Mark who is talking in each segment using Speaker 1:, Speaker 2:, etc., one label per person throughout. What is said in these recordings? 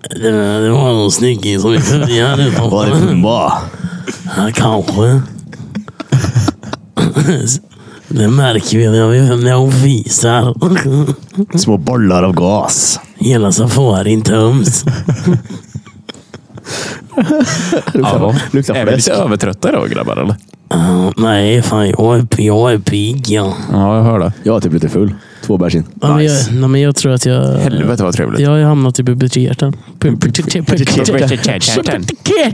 Speaker 1: Det, det var någon snygging som vi följde här
Speaker 2: Var det
Speaker 1: utanför.
Speaker 2: Pumba?
Speaker 1: Ja, kanske. Det märker vi när vi- när hon fiser.
Speaker 2: Små bollar av gas.
Speaker 1: Hela safarin töms.
Speaker 3: Ja.
Speaker 2: luktar
Speaker 3: Är vi
Speaker 2: fläsk.
Speaker 3: lite övertrötta idag grabbar eller?
Speaker 1: Ja, nej, fan jag är, jag är pigg ja.
Speaker 3: Ja, jag hör det.
Speaker 2: Jag är typ lite full. Två bärs in.
Speaker 4: Ja, men
Speaker 3: Nice.
Speaker 4: jag, nej, men jag tror att jag...
Speaker 3: Helvete vad trevligt.
Speaker 4: Jag har ju hamnat i puberteten.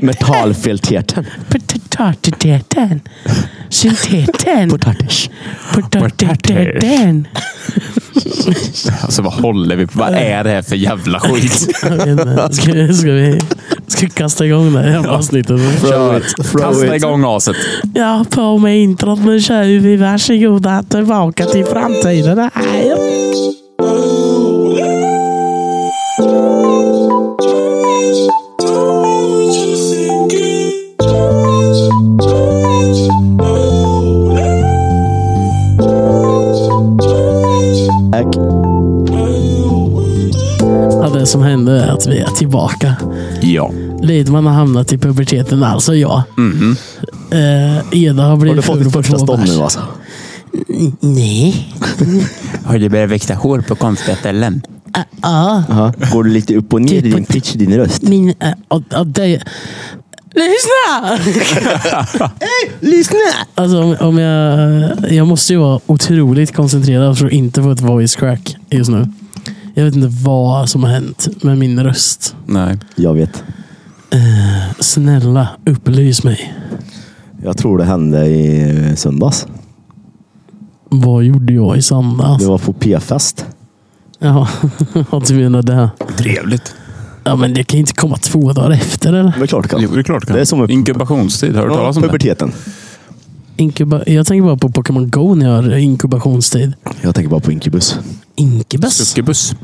Speaker 2: Metallfilterten.
Speaker 4: Potatiseten. Synteten.
Speaker 2: Potatis.
Speaker 4: Potatiseten.
Speaker 3: Alltså vad håller vi på? Vad är det här för jävla skit?
Speaker 4: Jag vet inte. Ska, vi- ska vi ska vi kasta igång det här jävla avsnittet?
Speaker 2: Throw
Speaker 3: Kör.
Speaker 2: it. Throw
Speaker 3: Kasta
Speaker 2: it.
Speaker 3: igång aset.
Speaker 4: Ja, på med introt. Nu kör vi. Varsågoda. Tillbaka till framtiden. Här.
Speaker 2: Tack.
Speaker 4: Ja, det som hände är att vi är tillbaka.
Speaker 3: Ja.
Speaker 4: Lidman har hamnat i puberteten, alltså jag. Eh, Eda har
Speaker 2: Mhm. Har du
Speaker 4: blivit
Speaker 2: fått ditt
Speaker 4: ful på
Speaker 2: första
Speaker 4: två
Speaker 2: stånd
Speaker 4: bärs.
Speaker 2: nu alltså?
Speaker 4: Nej.
Speaker 3: Har du börjat växa hår på konstiga ställen?
Speaker 4: Ah, Ja,
Speaker 2: Ja. Går du lite upp och ner i
Speaker 3: Typ
Speaker 2: din pitch i din röst?
Speaker 4: min... Äh, och, och det, lyssna!
Speaker 2: Lyssna!
Speaker 4: Alltså om, om jag... Jag måste ju vara otroligt koncentrerad för att inte få ett voice crack just nu. Jag vet inte vad som har hänt med min röst.
Speaker 3: Nej.
Speaker 2: Jag vet.
Speaker 4: Snälla, upplys mig.
Speaker 2: Jag tror det hände i eh, söndags.
Speaker 4: Vad gjorde jag i
Speaker 2: Det
Speaker 4: söndags?
Speaker 2: var på P-fest.
Speaker 4: Jaha, ja, du menar det.
Speaker 3: Trevligt.
Speaker 4: Ja, men det kan ju inte komma två dagar efter eller?
Speaker 2: Det är klart det
Speaker 3: Jo,
Speaker 2: kan.
Speaker 3: det är klart kan.
Speaker 2: Det är som upp-
Speaker 3: Inkubationstid, har du
Speaker 2: Ja,
Speaker 3: talas om det?
Speaker 2: Puberteten.
Speaker 4: Inkuba jag tänker bara på Pokémon Go när jag har inkubationstid.
Speaker 2: Jag tänker bara på Incubus.
Speaker 4: Inkubus?
Speaker 3: Succubus.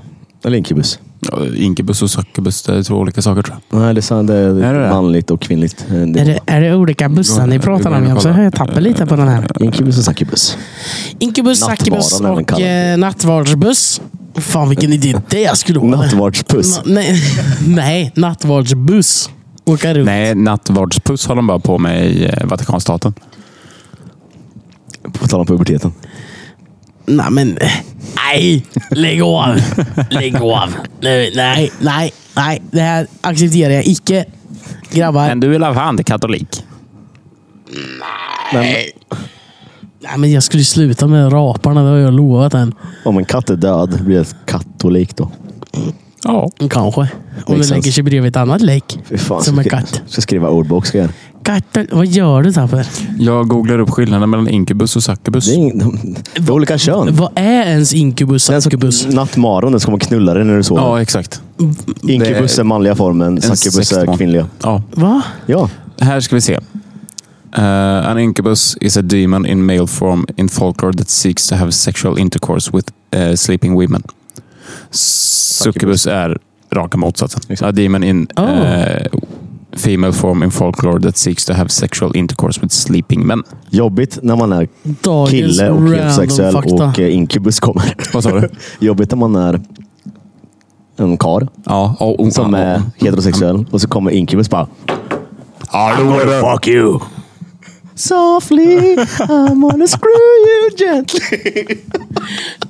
Speaker 2: Eller Incubus.
Speaker 3: Ja, Inkubus och succubus, det är två olika saker tror jag.
Speaker 2: Nej, det är, sant. det är,
Speaker 3: Är det det?
Speaker 2: manligt och kvinnligt. Eh,
Speaker 4: Är
Speaker 2: Det
Speaker 4: det, är det olika bussar ni
Speaker 3: Gå-
Speaker 4: pratar
Speaker 3: gå
Speaker 4: om?
Speaker 3: in och
Speaker 4: Jag, så
Speaker 3: kolla.
Speaker 4: jag tappar lite på den här.
Speaker 2: Incubus och Succubus.
Speaker 4: Inkubus,
Speaker 2: Nattvarden
Speaker 4: Sackibus
Speaker 2: är den
Speaker 4: och
Speaker 2: kallad.
Speaker 4: eh, nattvardsbuss. Fan vilken idé det skulle vara.
Speaker 2: Nattvardspuss.
Speaker 4: Na- nej, nej, nattvardsbuss. Åka runt.
Speaker 3: Nej, nattvardspuss håller de bara på med i eh, Vatikanstaten.
Speaker 2: På tal om puberteten.
Speaker 4: Nej, men... eh, Nej! Lägg av! Lägg av! Nej, nej, nej, nej. Det här accepterar jag icke. Grabbar.
Speaker 3: du är i alla fall inte katolik.
Speaker 2: Men
Speaker 4: Nej, men jag skulle ju sluta med raparna, det har jag lovat än.
Speaker 2: om en katt är död, blir det kattolik då?
Speaker 3: Ja.
Speaker 4: Kanske. Om det
Speaker 2: Makes
Speaker 4: lägger
Speaker 2: sense.
Speaker 4: sig bredvid ett annat lägg.
Speaker 2: Fy fan.
Speaker 4: Som en
Speaker 2: ska-
Speaker 4: katt.
Speaker 2: Ska skriva ordbok ska jag göra.
Speaker 4: Katten, vad gör du Tapper?
Speaker 3: Jag googlar upp skillnaden mellan inkubus och succubus.
Speaker 2: Det är, ing- de, det är olika kön.
Speaker 4: Vad är ens inkubus
Speaker 2: Den som-
Speaker 4: succubus?
Speaker 2: Nattmaron, den som kommer knulla dig när du sover.
Speaker 3: Ja, exakt.
Speaker 2: Inkubus
Speaker 3: det-
Speaker 2: är manliga formen,
Speaker 3: En
Speaker 2: succubus är
Speaker 3: sexton.
Speaker 2: kvinnliga.
Speaker 3: Ja.
Speaker 4: Va?
Speaker 2: Ja,
Speaker 3: Här ska vi se. Uh, an incubus is a demon in male form in folklore that seeks to have sexual intercourse with eh, sleeping women. Succubus är raka motsatsen. A demon in
Speaker 4: Oh.
Speaker 3: eh, female form in folklore that seeks to have sexual intercourse with sleeping men.
Speaker 2: jobbigt när man är
Speaker 4: Dagens
Speaker 2: kille och
Speaker 4: random
Speaker 2: heterosexuell
Speaker 4: fakta.
Speaker 2: och eh, inkubus kommer.
Speaker 3: Vad sa du?
Speaker 2: Jobbigt när man är en kar
Speaker 3: ja, oh, oh,
Speaker 2: som
Speaker 3: oh,
Speaker 2: är heterosexuell och så kommer inkubus bara
Speaker 3: oh.
Speaker 2: Fuck you! Softly, I'm gonna screw you gently.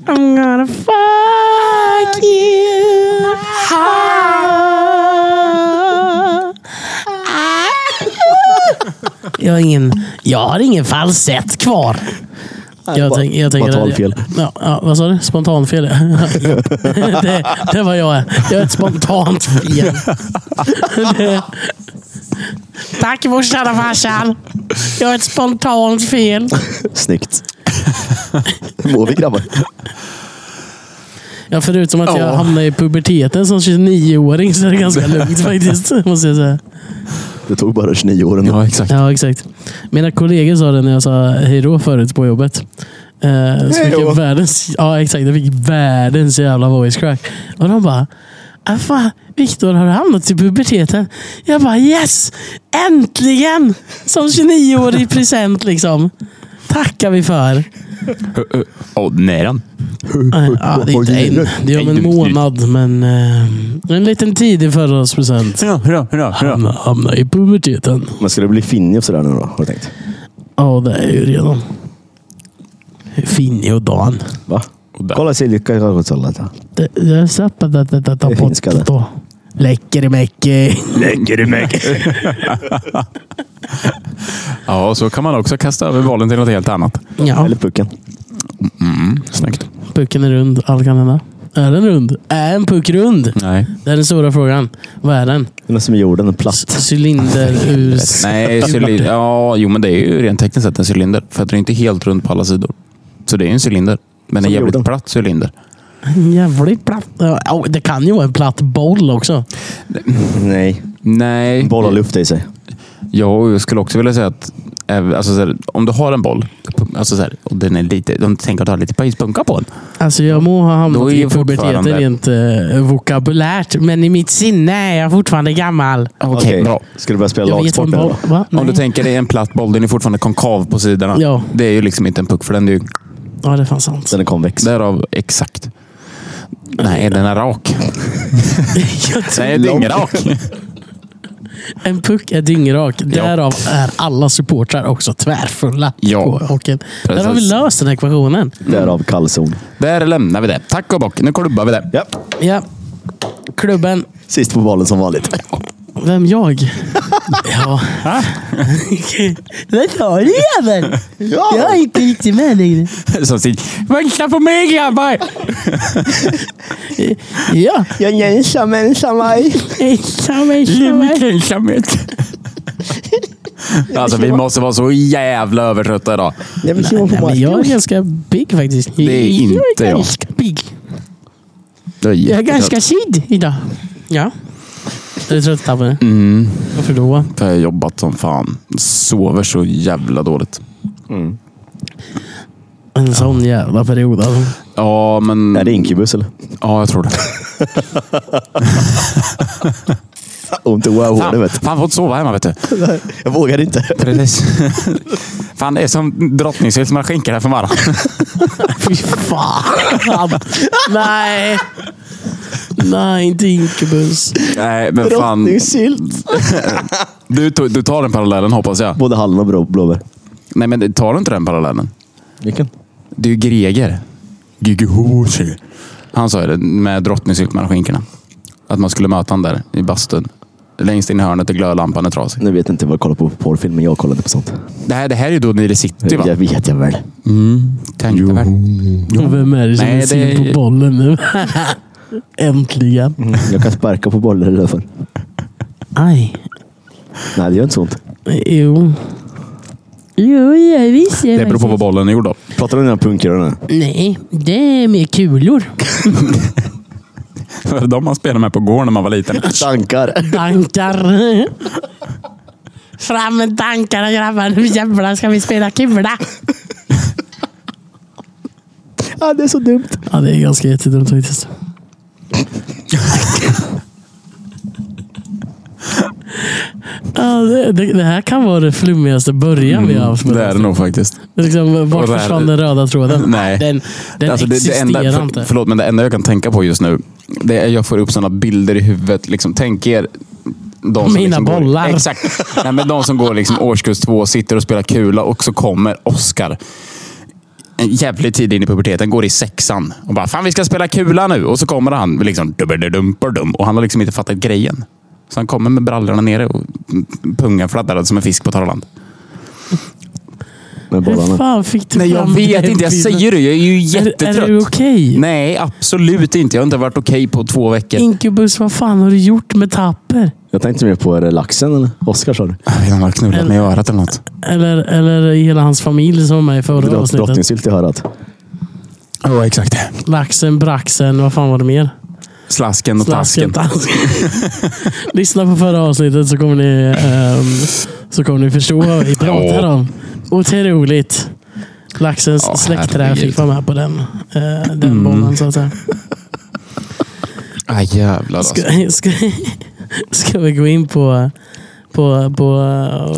Speaker 4: I'm gonna fuck you Jag har ingen, jag har ingen falsett kvar. Jag,
Speaker 2: bara-
Speaker 4: tänk, jag tänker att-
Speaker 2: spontanfel.
Speaker 4: Ja, ja, vad sa du? Spontanfel? ja. det, det var jag. är. Jag är ett spontant fel. Det- Tack vår kära farsan. Jag är ett spontant fel.
Speaker 2: Snyggt. Hur mår vi grabbar?
Speaker 4: Ja, förutom att jag
Speaker 3: Ja.
Speaker 4: hamnade i puberteten som 29-åring så är det ganska lugnt faktiskt. Måste jag säga.
Speaker 2: Det tog bara 29 år ändå.
Speaker 3: Ja, exakt.
Speaker 4: Ja, exakt. Mina kollegor sa det när jag sa hej då förut på jobbet. Eh, så fick
Speaker 2: Hej då.
Speaker 4: jag världens, ja, exakt. Jag fick världens jävla voice crack. Och de bara, "Ah, fan, Viktor har du hamnat i puberteten? Jag bara yes! Äntligen! Som 29-årig present liksom. tackar vi för.
Speaker 3: Åh, när han?
Speaker 4: Ja, det är inte en. Det är om en
Speaker 2: typ.
Speaker 4: månad, men eh, en liten tidig födelsedagspresent.
Speaker 3: Hurra, hurra, hurra, hurra.
Speaker 4: Hamna, hamna i puberteten.
Speaker 2: Men ska det bli Finny och sådär nu då? Har du tänkt?
Speaker 4: Ja, det är ju redan. Finne och Dan.
Speaker 2: Va?
Speaker 3: Och där.
Speaker 2: Kolla Silja karkotsalata.
Speaker 4: Det- Jag har sett att det- det- det-
Speaker 2: Det är finska det.
Speaker 4: det på Läckerimäcki.
Speaker 2: Lägger du mig?
Speaker 3: Ja, så kan man också kasta över bollen till något helt annat.
Speaker 4: Ja,
Speaker 2: Eller pucken.
Speaker 3: Mm, snyggt.
Speaker 4: pucken är rund. Allt kan hända. Är den rund? Är en puck rund?
Speaker 3: Nej.
Speaker 4: Det är den stora frågan. Vad är den?
Speaker 2: Den är som jorden, en platt.
Speaker 4: S- Cylinder ur...
Speaker 3: Nej, cylinder. Ja, jo, men det är ju rent tekniskt sett en cylinder. För att den är inte helt rund på alla sidor. Så det är ju en cylinder. Men en
Speaker 2: Som
Speaker 3: jävligt
Speaker 2: jorden.
Speaker 3: platt cylinder.
Speaker 4: Jävligt platt. Ja, oh, Det kan ju vara en platt boll också.
Speaker 2: Nej.
Speaker 3: Nej.
Speaker 2: Boll har luft i sig.
Speaker 3: Ja, och jag skulle också vilja säga att eh, alltså, så här, om du har en boll alltså, så här, och den är lite, de tänker att du har lite pajspunka på den.
Speaker 4: Alltså jag må ha
Speaker 3: Då
Speaker 4: hamnat
Speaker 3: är
Speaker 4: i
Speaker 3: jag fortfarande-
Speaker 4: puberteten rent eh, vokabulärt, men i mitt sinne är jag fortfarande gammal.
Speaker 3: Okej, bra.
Speaker 2: Ska du börja spela
Speaker 4: Jag vet vad
Speaker 2: lagsport
Speaker 4: en
Speaker 2: nu
Speaker 4: boll...
Speaker 2: då?
Speaker 4: Va?
Speaker 3: Om du
Speaker 4: Nej.
Speaker 3: tänker dig en platt boll, den är fortfarande konkav på sidorna.
Speaker 4: Ja.
Speaker 3: Det är ju liksom inte en puck för den. Det är ju
Speaker 4: Ja, det är fan sant.
Speaker 2: Den är konvex.
Speaker 3: därav exakt. Nej, den är rak.
Speaker 4: Jag tror-
Speaker 3: Nej, dyngrak.
Speaker 4: En puck är dyngrak. Därav är alla supportrar också tvärfulla
Speaker 3: Ja.
Speaker 4: på hockeyn. Där har vi
Speaker 3: Precis.
Speaker 4: löst den ekvationen.
Speaker 2: Därav kallzon.
Speaker 3: Där lämnar vi det. Tack och bock. Nu klubbar vi det.
Speaker 2: Ja.
Speaker 4: Ja. Klubben.
Speaker 2: Sist på bollen som vanligt.
Speaker 4: Vem jag? ja. Vad sa du jäveln? Jag är inte riktigt med längre.
Speaker 3: Som sitt. Vänta på mig grabbar!
Speaker 4: Ja.
Speaker 2: Jag är ensam, ensam mig.
Speaker 4: Ensam, ensam,
Speaker 3: Livet
Speaker 4: ensam.
Speaker 3: ensamhet. Alltså vi måste vara så jävla övertrötta idag.
Speaker 2: Jag vill
Speaker 4: Nej, men jag är ganska big faktiskt.
Speaker 3: Det är inte
Speaker 4: jag.
Speaker 3: jag.
Speaker 4: är ganska big.
Speaker 3: Det är
Speaker 4: Jag är
Speaker 3: jättetrött.
Speaker 4: ganska kid idag. Ja. Är du trött Tabbe?
Speaker 3: Mm.
Speaker 4: Varför då?
Speaker 3: För jag har jobbat som fan. Sover så jävla dåligt.
Speaker 4: En sån jävla period alltså.
Speaker 3: Ja, men...
Speaker 2: Är det inkubus eller?
Speaker 3: Ja, jag tror det.
Speaker 2: Ah, Ont i
Speaker 3: Fan,
Speaker 2: hårhålet.
Speaker 3: fan fått sova hemma, vet du.
Speaker 2: Jag vågar inte.
Speaker 3: Precis. fan, det är som drottningsylt som man skänker här för morgonen.
Speaker 4: Fy fan! Nej! Nej, inte Inkubus.
Speaker 3: Nej, men fan.
Speaker 2: Drottningsylt.
Speaker 3: Du, tog- du tar den parallellen, hoppas jag.
Speaker 2: Både hallon och blå- blåbär.
Speaker 3: Nej, men tar du inte den parallellen?
Speaker 2: Vilken?
Speaker 3: Det är ju Greger. Gigehose. Han sa ju det med drottningsylt mellan skinkorna. Att man skulle möta han där i bastun. Längst in i hörnet där glödlampan är trasig.
Speaker 2: Nu vet jag inte vad jag kollar på på porrfilm, men jag kollar inte på sånt.
Speaker 3: Det här, det här är ju då nere i city va?
Speaker 2: Jag vet jag väl.
Speaker 3: Tänkte väl.
Speaker 4: Vem är det som
Speaker 3: Nej,
Speaker 4: är
Speaker 3: det-
Speaker 4: sur på bollen nu? Äntligen.
Speaker 2: Jag kan sparka på bollar i alla fall.
Speaker 4: Aj.
Speaker 2: Nej, det gör inte så ont.
Speaker 4: Jo. Jo, ja, visst.
Speaker 3: Det beror på vad bollen är gjord av.
Speaker 2: Pratar du om den här punkrören?
Speaker 4: Nej, det är mer kulor.
Speaker 3: Det var de man spelade med på gården när man var liten.
Speaker 2: Tankar.
Speaker 4: Dankar. Fram med dankarna grabbar. Nu jävlar ska vi spela kula.
Speaker 2: Ja, det är så dumt.
Speaker 4: Ja, det är ganska jättedumt faktiskt. Ja, det, det, det här kan vara det flummigaste början vi har haft. med
Speaker 3: Mm, Det är det nog faktiskt.
Speaker 4: Det är Liksom, vart
Speaker 3: Och det här-
Speaker 4: försvann den röda tråden?
Speaker 3: Nej.
Speaker 4: Den, den
Speaker 3: Alltså, det, det
Speaker 4: existerar
Speaker 3: enda, för,
Speaker 4: inte.
Speaker 3: Förlåt, men det enda jag kan tänka på just nu, det är jag får upp sådana bilder i huvudet. Liksom, tänk er de som
Speaker 4: Mina
Speaker 3: liksom
Speaker 4: bollar.
Speaker 3: Går, exakt. Nej, men de som går liksom årskurs två, sitter och spelar kula och så kommer Oscar. En jävligt tid in i puberteten, går i sexan och bara “Fan, vi ska spela kula nu!” Och så kommer han liksom dubbeldumperdum och han har liksom inte fattat grejen. Så han kommer med brallorna nere och pungan fladdrade som en fisk på torra land.
Speaker 2: Med
Speaker 4: Hur
Speaker 2: bollarna.
Speaker 4: fan fick du
Speaker 3: Nej,
Speaker 4: fram
Speaker 3: jag vet
Speaker 4: den
Speaker 3: inte. Jag
Speaker 4: bilden?
Speaker 3: säger det. Jag är ju
Speaker 4: Är,
Speaker 3: jättetrött.
Speaker 4: är du okej?
Speaker 3: Nej, absolut inte. Jag har inte varit okej på två veckor.
Speaker 4: Inkubus, vad fan har du gjort med tapper?
Speaker 2: Jag tänkte mer på är det laxen eller? Oskar sa du?
Speaker 3: Han har knullat mig i örat eller något.
Speaker 4: Eller, eller hela hans familj som var med i förra
Speaker 2: Drott-
Speaker 4: avsnittet.
Speaker 2: Drottningsylt i örat.
Speaker 3: Ja, oh, exakt.
Speaker 4: Laxen, braxen, vad fan var det mer?
Speaker 3: Slasken och
Speaker 4: Slasken,
Speaker 3: tasken.
Speaker 4: tasken. Lyssna på förra avsnittet så kommer ni, ehm, så kommer ni förstå vad vi pratar om. Otroligt. Laxens
Speaker 3: Ja,
Speaker 4: släktträd
Speaker 3: herregud. Mm.
Speaker 4: fick vara med på den, eh, den bollen så att säga.
Speaker 3: Ah, jävlar alltså.
Speaker 4: Ska, ska, ska vi gå in på, på, på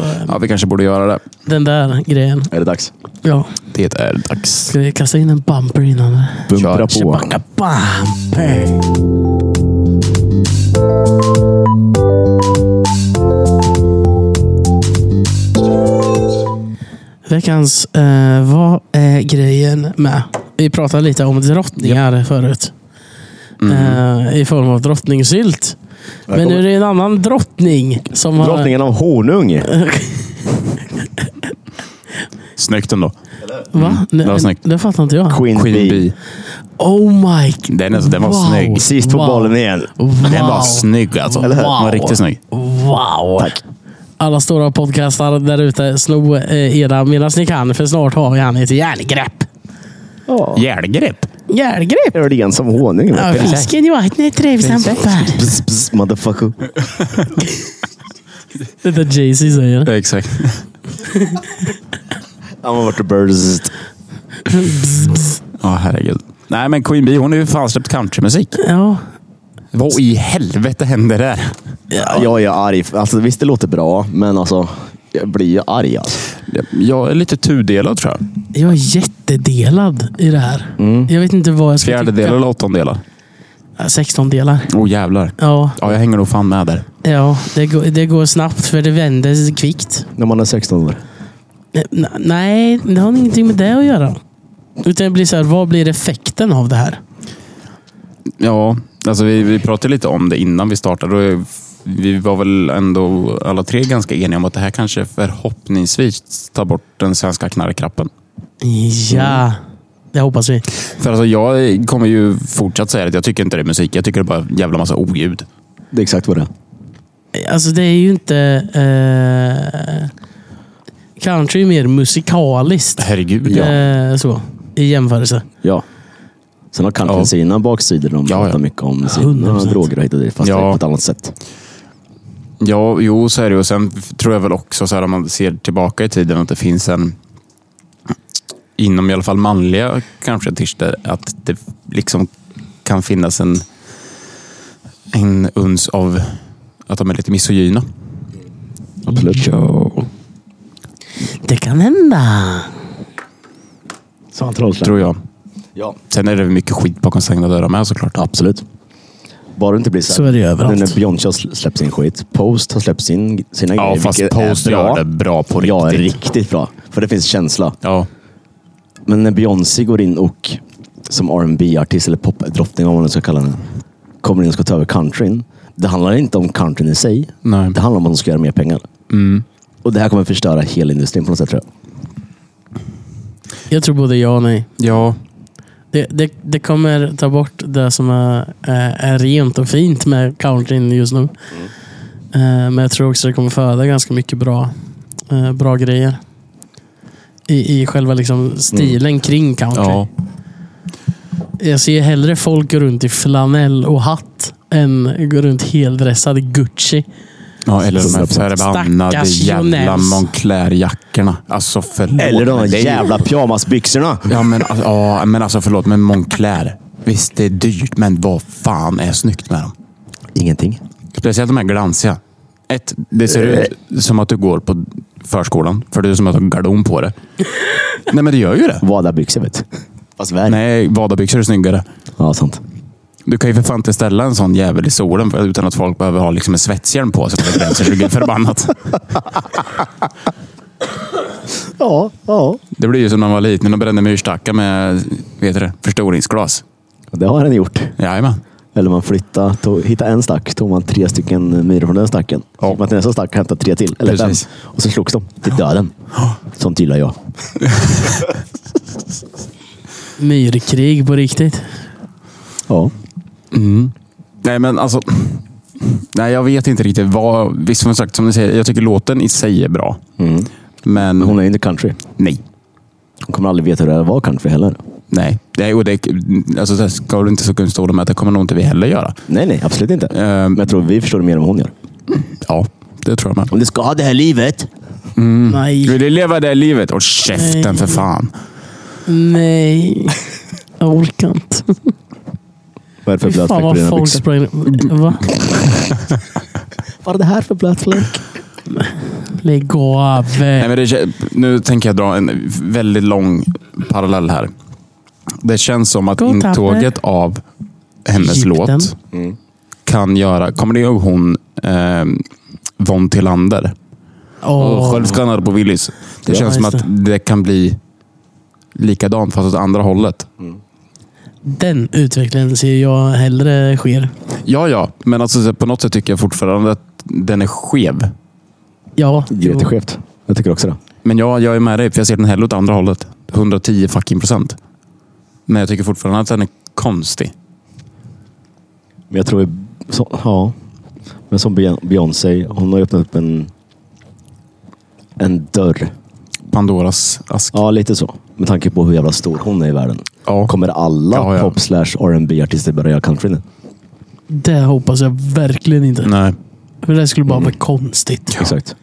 Speaker 4: eh,
Speaker 3: Ja, vi kanske borde göra det.
Speaker 4: den där grejen.
Speaker 2: Är det dags?
Speaker 4: Ja.
Speaker 3: Det är dags.
Speaker 4: Ska vi kasta in en bumper innan?
Speaker 2: Bumpra på.
Speaker 4: Chewbacca bumper. Veckans, eh, vad är grejen med? Vi pratade lite om drottningar förut.
Speaker 3: Mm.
Speaker 4: Eh, I form av drottningsylt. Men nu är det en annan drottning som har...
Speaker 2: Drottningen av honung.
Speaker 3: Snyggt ändå.
Speaker 4: Va?
Speaker 3: Mm. det var snyggt.
Speaker 4: Det, det fattar inte jag.
Speaker 2: Queen
Speaker 3: Queen
Speaker 2: Bee.
Speaker 3: Bee.
Speaker 4: Oh my... g-
Speaker 3: Den, är, den var
Speaker 4: Wow.
Speaker 3: snygg.
Speaker 2: Sist på
Speaker 4: Wow.
Speaker 2: bollen igen.
Speaker 4: Wow.
Speaker 3: Den var snygg alltså.
Speaker 2: Eller hur?
Speaker 3: Den var riktigt snygg.
Speaker 4: Wow!
Speaker 2: Tack.
Speaker 4: Alla stora podcastar där ute, sno eh, era medan ni kan, för snart har vi han i ett järngrepp.
Speaker 2: Ja.
Speaker 3: Järngrepp.
Speaker 4: Järngrepp?
Speaker 2: Gör det igen som honung.
Speaker 4: Ja,
Speaker 2: vet du.
Speaker 4: fisken i vattnet trivsam bär.
Speaker 2: Pss, pss, motherfucker.
Speaker 4: Det är det Jay-Z säger.
Speaker 3: Exakt.
Speaker 2: Han har varit och burzzt.
Speaker 3: Ja, herregud. Nej, men Queen Bee, hon har ju fan släppt countrymusik.
Speaker 4: Ja.
Speaker 3: Vad i helvete hände där?
Speaker 2: Jag är arg. Alltså, visst, det låter bra, men alltså, jag blir ju arg. Alltså.
Speaker 3: Jag är lite tudelad tror jag.
Speaker 4: Jag är jättedelad i det här. Jag vet inte vad jag ska
Speaker 3: Fjärdedelar eller åttondelar?
Speaker 4: tycka. 16 delar.
Speaker 3: Oh jävlar.
Speaker 4: Ja,
Speaker 3: Ja, jag hänger nog fan med där.
Speaker 4: ja det, går, det går snabbt för det vänder kvickt. Eh,
Speaker 2: När man är 16 år.
Speaker 4: N- nej, det har ingenting med det att göra. Utan det blir så här, vad blir effekten av det här?
Speaker 3: Ja, alltså vi, vi pratade lite om det innan vi startade. Och vi var väl ändå alla tre ganska eniga om att det här kanske förhoppningsvis tar bort den svenska knarkrappen.
Speaker 4: Ja, det hoppas vi.
Speaker 3: För alltså jag kommer ju fortsatt säga att jag tycker inte det är musik. Jag tycker det är bara en jävla massa oljud.
Speaker 2: Det är exakt vad det är.
Speaker 4: Alltså det är ju inte... Eh, country är mer musikaliskt.
Speaker 3: Herregud ja.
Speaker 4: Eh, så, I jämförelse.
Speaker 2: Ja. Sen har country
Speaker 3: Ja.
Speaker 2: sina baksidor. De
Speaker 3: Ja,
Speaker 2: pratar
Speaker 3: ja.
Speaker 2: mycket om sina
Speaker 4: 100%.
Speaker 2: droger och hit och dit, fast
Speaker 3: Ja.
Speaker 2: det är på ett annat sätt.
Speaker 3: Ja, jo så är det ju. Och Sen tror jag väl också så här om man ser tillbaka i tiden att det finns en inom i alla fall manliga kanske artister att det liksom kan finnas en en uns av att de är lite misogyna.
Speaker 2: Absolut.
Speaker 4: Det kan hända.
Speaker 2: Sa han trollsläng?
Speaker 3: Tror jag.
Speaker 2: Ja.
Speaker 3: Sen är det mycket skit bakom stängda dörrar med såklart.
Speaker 2: Absolut. Bara det inte blir så, här-
Speaker 4: Så är det ju
Speaker 2: Nu
Speaker 4: överallt.
Speaker 2: när Beyoncé har sl- släppt sin skit. Post har släppt sin, sina
Speaker 3: Ja,
Speaker 2: grejer.
Speaker 3: fast
Speaker 2: vilket är
Speaker 3: Post gör det bra på riktigt.
Speaker 2: Ja, riktigt bra. För det finns känsla.
Speaker 3: Ja,
Speaker 2: Men när Beyoncé går in och som rb artist eller popdrottning, vad man nu ska kalla henne, kommer in och ska ta över countryn. Det handlar inte om countryn i sig.
Speaker 3: nej. Mm.
Speaker 2: Det handlar om att de ska göra mer pengar. Och det här kommer förstöra hela industrin på något sätt tror jag.
Speaker 4: Jag tror både ja och nej.
Speaker 3: Ja,
Speaker 4: Det, det, det kommer ta bort det som är, är- är rent och fint med countryn just nu.
Speaker 3: Mm.
Speaker 4: Eh, men jag tror också det kommer föda ganska mycket bra, eh, bra grejer. I, I själva liksom stilen kring country.
Speaker 3: Mm. ja.
Speaker 4: Jag ser hellre folk gå runt i flanell och hatt än gå runt heldressad i Gucci.
Speaker 3: Ja, eller de här
Speaker 2: Stackars
Speaker 3: förbannade jävla
Speaker 4: Jones.
Speaker 3: Moncler-jackorna. Alltså förlåt.
Speaker 2: Eller de
Speaker 3: men det är ju-
Speaker 2: jävla pyjamasbyxorna!
Speaker 3: Ja men, alltså, ja, men alltså förlåt, men Moncler. Visst, det är dyrt, men vad fan är snyggt med dem?
Speaker 2: Ingenting.
Speaker 3: Speciellt de här glansiga. Ett, det ser ut som att du går på förskolan, för det är som att du har gardon på dig. Nej, men det gör ju det.
Speaker 2: Vadabyxor vet du. Fast värre.
Speaker 3: Nej, vadabyxor är snyggare.
Speaker 2: Ja, sant.
Speaker 3: Du kan ju för fan inte ställa en sån jävel i solen för- utan att folk behöver ha liksom en svetshjälm på sig. för att Det bränns förbannat.
Speaker 2: Ja, ja.
Speaker 3: Det blir ju som när man var liten och brände myrstackar med vet du, det, förstoringsglas.
Speaker 2: Det har den gjort.
Speaker 3: Jajamän.
Speaker 2: Eller man flyttade, tog, hittade en stack, tog man tre stycken myror från den stacken.
Speaker 3: Ja.
Speaker 2: Så gick man till nästa stack och hämtade tre till. Eller fem.
Speaker 3: Precis.
Speaker 2: Och så slogs de till döden. Sånt gillar jag.
Speaker 4: Myrkrig på riktigt.
Speaker 2: Ja.
Speaker 3: Nej, men alltså... Nej, jag vet inte riktigt vad... Visst, som sagt, som ni säger, jag tycker låten i sig är bra. Men
Speaker 2: Mm. Men hon är ju inte country.
Speaker 3: nej.
Speaker 2: Hon kommer aldrig veta hur det här var country heller.
Speaker 3: Nej, nej och det, alltså, det ska du inte så kunna stå med att det kommer nog inte vi heller göra.
Speaker 2: Nej, nej, absolut inte.
Speaker 3: Eh,
Speaker 2: Men jag tror vi förstår det mer än vad hon gör.
Speaker 3: ja, det tror jag med.
Speaker 2: Om du ska ha det här livet.
Speaker 4: Nej.
Speaker 3: Mm. Vill du leva det livet? Åh, käften för fan.
Speaker 4: Nej. Jag orkar inte.
Speaker 2: Vad är det för
Speaker 4: Fy
Speaker 2: blöt
Speaker 4: fan
Speaker 2: fläck på
Speaker 4: vad
Speaker 2: dina
Speaker 4: folk
Speaker 2: byxor?
Speaker 4: sprang... Va?
Speaker 2: Vad är det här för blöt fläck?
Speaker 4: Lägg av.
Speaker 3: Nej, men det, kä- nu tänker jag dra en väldigt lång parallell här. Det känns som att
Speaker 4: Gå, Tapper.
Speaker 3: intåget av hennes
Speaker 4: Egypten.
Speaker 3: låt
Speaker 2: Mm.
Speaker 3: kan göra... Kommer ni ihåg hon eh, Von Tillander?
Speaker 4: Åh.
Speaker 3: Och Självskannare på Willys. Det
Speaker 4: Ja,
Speaker 3: känns som
Speaker 4: just
Speaker 3: att det kan bli likadant fast åt andra hållet.
Speaker 4: Den utvecklingen ser jag hellre sker.
Speaker 3: Ja, ja. Men alltså, på något sätt tycker jag fortfarande att den är skev.
Speaker 4: Ja.
Speaker 2: Det är jätteskevt. Jag tycker också det.
Speaker 3: Men ja, jag är med dig, för jag ser den hellre åt andra hållet. 110 fucking procent. Men jag tycker fortfarande att den är konstig.
Speaker 2: Men jag tror... ju- Så, ja. Men som Bey- Beyoncé, hon har ju öppnat upp en... En dörr.
Speaker 3: Pandoras ask.
Speaker 2: Ja, lite så. Med tanke på hur jävla stor hon är i världen.
Speaker 3: Ja.
Speaker 2: Kommer alla
Speaker 3: Ja, ja.
Speaker 2: pop slash R&B artister börja göra country nu?
Speaker 4: Det hoppas jag verkligen inte.
Speaker 3: Nej. Mm.
Speaker 4: För det skulle bara vara konstigt.
Speaker 2: Exakt.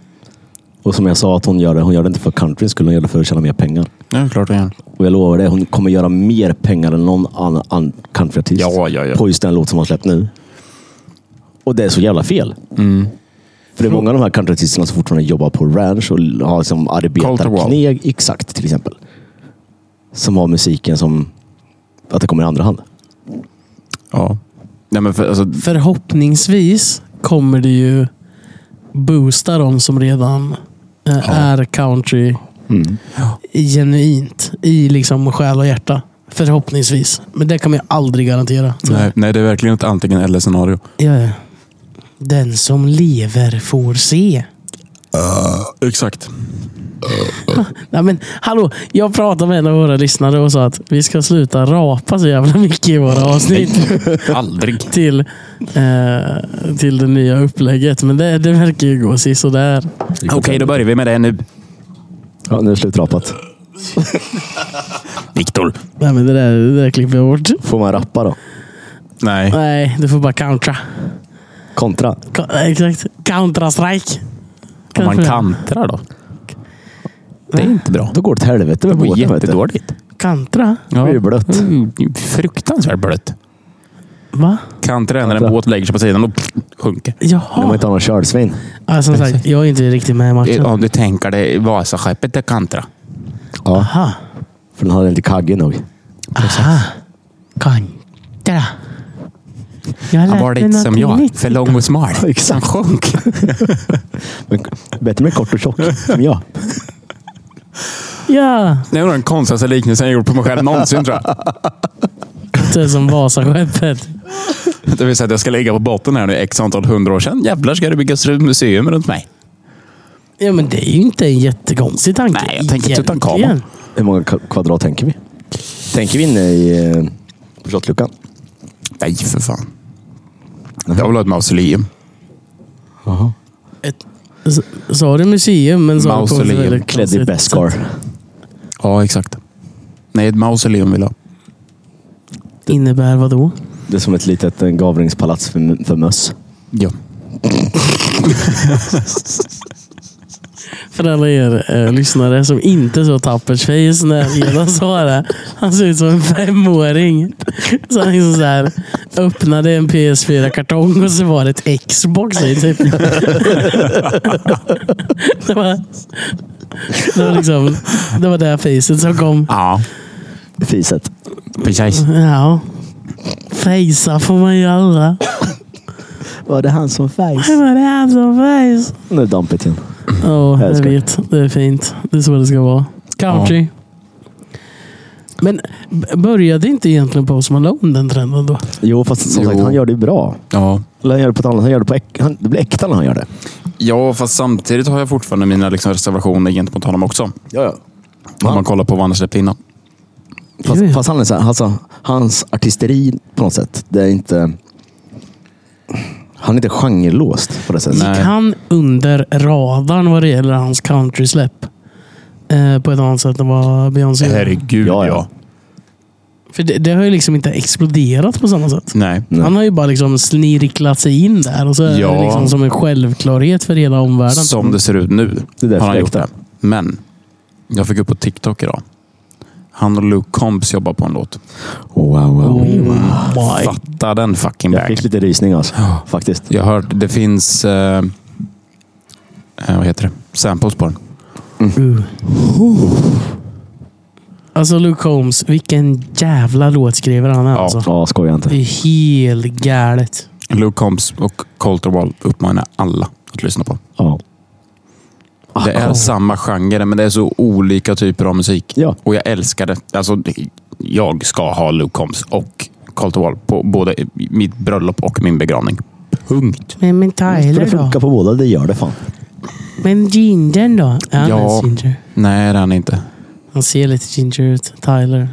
Speaker 2: Och som jag sa, att hon gör det, hon gör det inte för country skulle hon göra det för att tjäna mer pengar.
Speaker 3: Ja, klart det är.
Speaker 2: Och jag lovar det, hon kommer göra mer pengar än någon annan an, countryartist.
Speaker 3: Ja, ja, ja.
Speaker 2: På just den låt som hon släppt nu. Och det är så jävla fel.
Speaker 3: Mm.
Speaker 2: För det är många av de här countryartisterna som fortfarande jobbar på ranch och l- har liksom
Speaker 3: Colter Wall.
Speaker 2: arbetarkneg. Exakt, till exempel. Som har musiken som... Att det kommer i andra hand.
Speaker 3: Ja. Nej, men för, alltså,
Speaker 4: Förhoppningsvis kommer det ju boosta de som redan eh, är country genuint. I liksom själ och hjärta. Förhoppningsvis. Men det kommer jag aldrig garantera.
Speaker 3: nej, nej, det är verkligen ett antingen eller scenario.
Speaker 4: Ja, ja. Den som lever får se.
Speaker 3: Exakt.
Speaker 4: Nej, men, hallå, jag pratade med en av våra lyssnare och sa att vi ska sluta rapa så jävla mycket i våra avsnitt
Speaker 3: Aldrig.
Speaker 4: till, eh, till det nya upplägget. Men det, det verkar ju gå sisådär.
Speaker 3: Okej, då börjar vi med det nu.
Speaker 2: Ja, nu är det slutrapat.
Speaker 3: Viktor.
Speaker 4: Nej, men det där, det där klipper jag bort.
Speaker 2: Får man rappa då?
Speaker 3: Nej.
Speaker 4: Nej, du får bara countra.
Speaker 2: Kontra?
Speaker 4: Ko- Exakt. Countra-strike.
Speaker 3: Om man kantrar då? Det är inte bra.
Speaker 2: Då går det till helvete med
Speaker 3: Det går
Speaker 2: båten. vet du.
Speaker 3: jättedåligt.
Speaker 4: Kantra?
Speaker 2: Det blir ju blött.
Speaker 3: Mm, Fruktansvärt blött. Alltså.
Speaker 4: Va?
Speaker 3: Kantra när en
Speaker 2: Kantra.
Speaker 3: båt lägger sig på sidan och pff, sjunker.
Speaker 2: När man
Speaker 4: Jaha.
Speaker 2: inte har någon kördsvin.
Speaker 4: Ja, som sagt, jag är inte riktigt med i matchen.
Speaker 3: Eh, Om du tänker dig Vasaskeppet, det kantra.
Speaker 2: Ja,
Speaker 4: Aha.
Speaker 2: för den hade inte kagge nog.
Speaker 4: Aha. Kantra. Jag har
Speaker 3: Han var
Speaker 4: lärt
Speaker 3: lite
Speaker 4: mig
Speaker 3: som
Speaker 4: något
Speaker 3: jag,
Speaker 4: nytt.
Speaker 3: för lång och smal. Han
Speaker 2: Exakt.
Speaker 3: sjönk.
Speaker 2: Men bättre med kort och tjock, som jag.
Speaker 4: Ja,
Speaker 3: Det var den konstigaste liknelsen jag gjort på mig själv någonsin tror jag.
Speaker 4: det är som Vasaskeppet.
Speaker 3: Det vill säga att jag ska ligga på botten här nu x antal hundra år sedan. Jävlar ska det byggas ett museum runt mig.
Speaker 4: Ja, men det är ju inte en jättekonstig tanke.
Speaker 3: Nej, jag tänker
Speaker 4: egentligen.
Speaker 3: Tutankhamon.
Speaker 2: Hur många ka- kvadrat tänker vi? Tänker vi inne i eh, på shotluckan?
Speaker 3: Nej, för fan. Jag vill ha ett mausoleum.
Speaker 4: Ett- s- Sa du museum, men sa du på ett
Speaker 3: Mausoleum.
Speaker 4: väldigt
Speaker 2: Klädd i
Speaker 4: konstigt
Speaker 2: Beskar.
Speaker 4: sätt.
Speaker 3: Ja, exakt. Nej, ett mausoleum vill jag ha.
Speaker 4: Innebär vad då?
Speaker 2: Det är som ett litet eh, gavringspalats för, för möss.
Speaker 3: Ja.
Speaker 4: För alla er eh, lyssnare som inte såg Tappers face när Edan sa det. Han såg ut som en femåring. Så han liksom så här, öppnade en PS4-kartong och så var det ett Xbox i. Typ. Det var, det var liksom det var det här facet som kom.
Speaker 3: Ja, Mm.
Speaker 2: Fiset.
Speaker 3: precis.
Speaker 4: Ja. Fejsa får man göra.
Speaker 2: Var det han som
Speaker 4: Det
Speaker 2: fejs?
Speaker 4: var det här som fejs.
Speaker 2: Nu är det dampigt igen.
Speaker 4: Ja, jag
Speaker 2: Älskar.
Speaker 4: vet. Det är fint. Det är så det ska vara. Country. Men b- började inte egentligen Post Malone den trenden då?
Speaker 2: Jo, fast som sagt,
Speaker 3: Jo.
Speaker 2: han gör det ju bra.
Speaker 3: Ja.
Speaker 2: Eller han gör det på ett annat han gör det på äk- han, Det blir äkta när han gör det.
Speaker 3: ja, fast samtidigt har jag fortfarande mina liksom, reservationer gentemot honom också.
Speaker 2: Ja, ja.
Speaker 3: Om man kollar på vad han har släppt innan.
Speaker 2: Fast,
Speaker 4: Jo, jo.
Speaker 2: fast han är så här, alltså, hans artisteri på något sätt, det är inte... Han är inte genrelåst på det sättet.
Speaker 3: Nej.
Speaker 4: Gick han under radarn vad det gäller hans countrysläpp? Eh, på ett annat sätt än vad Beyoncé gjorde.
Speaker 3: Herregud,
Speaker 2: Ja,
Speaker 3: ja.
Speaker 2: ja.
Speaker 4: För det, det har ju liksom inte exploderat på samma sätt.
Speaker 3: Nej.
Speaker 2: Nej.
Speaker 4: Han har ju bara liksom snirklat sig in där och så är
Speaker 3: Ja.
Speaker 4: det liksom som en självklarhet för hela omvärlden.
Speaker 3: Som det ser ut nu
Speaker 2: Det är därför
Speaker 3: har han
Speaker 2: jag
Speaker 3: gjort det.
Speaker 2: äktar.
Speaker 3: Men jag fick upp på TikTok idag. Han och Luke Combs jobbar på en låt.
Speaker 2: Wow, Oh, wow.
Speaker 4: Mm. Why?
Speaker 3: Fatta den fucking
Speaker 2: Jag
Speaker 3: bagen.
Speaker 2: fick lite rysning alltså. Faktiskt.
Speaker 3: Jag har hört, det finns... Eh, eh, vad heter det? Samples på den.
Speaker 4: Uh. Alltså Luke Holmes, vilken jävla låtskrivare han är. Alltså.
Speaker 2: Ja, skoja
Speaker 4: Det
Speaker 2: inte.
Speaker 4: är helt galet.
Speaker 3: Luke Combs och Colter Wall uppmanar alla att lyssna på.
Speaker 2: Ja.
Speaker 3: Det är samma genre, men det är så olika typer av musik.
Speaker 2: Ja.
Speaker 3: Och jag älskar det. Alltså, jag ska ha Luke Combs och Colter Wall på både mitt bröllop och min begravning. Punkt.
Speaker 4: Men, men
Speaker 2: För
Speaker 4: Tyler
Speaker 2: det
Speaker 4: då?
Speaker 2: funkar på båda, det gör det fan.
Speaker 4: Men gingern då? Är han
Speaker 3: Ja.
Speaker 4: ens ginger?
Speaker 3: Nej, det är han inte.
Speaker 4: Han ser lite ginger ut. Tyler.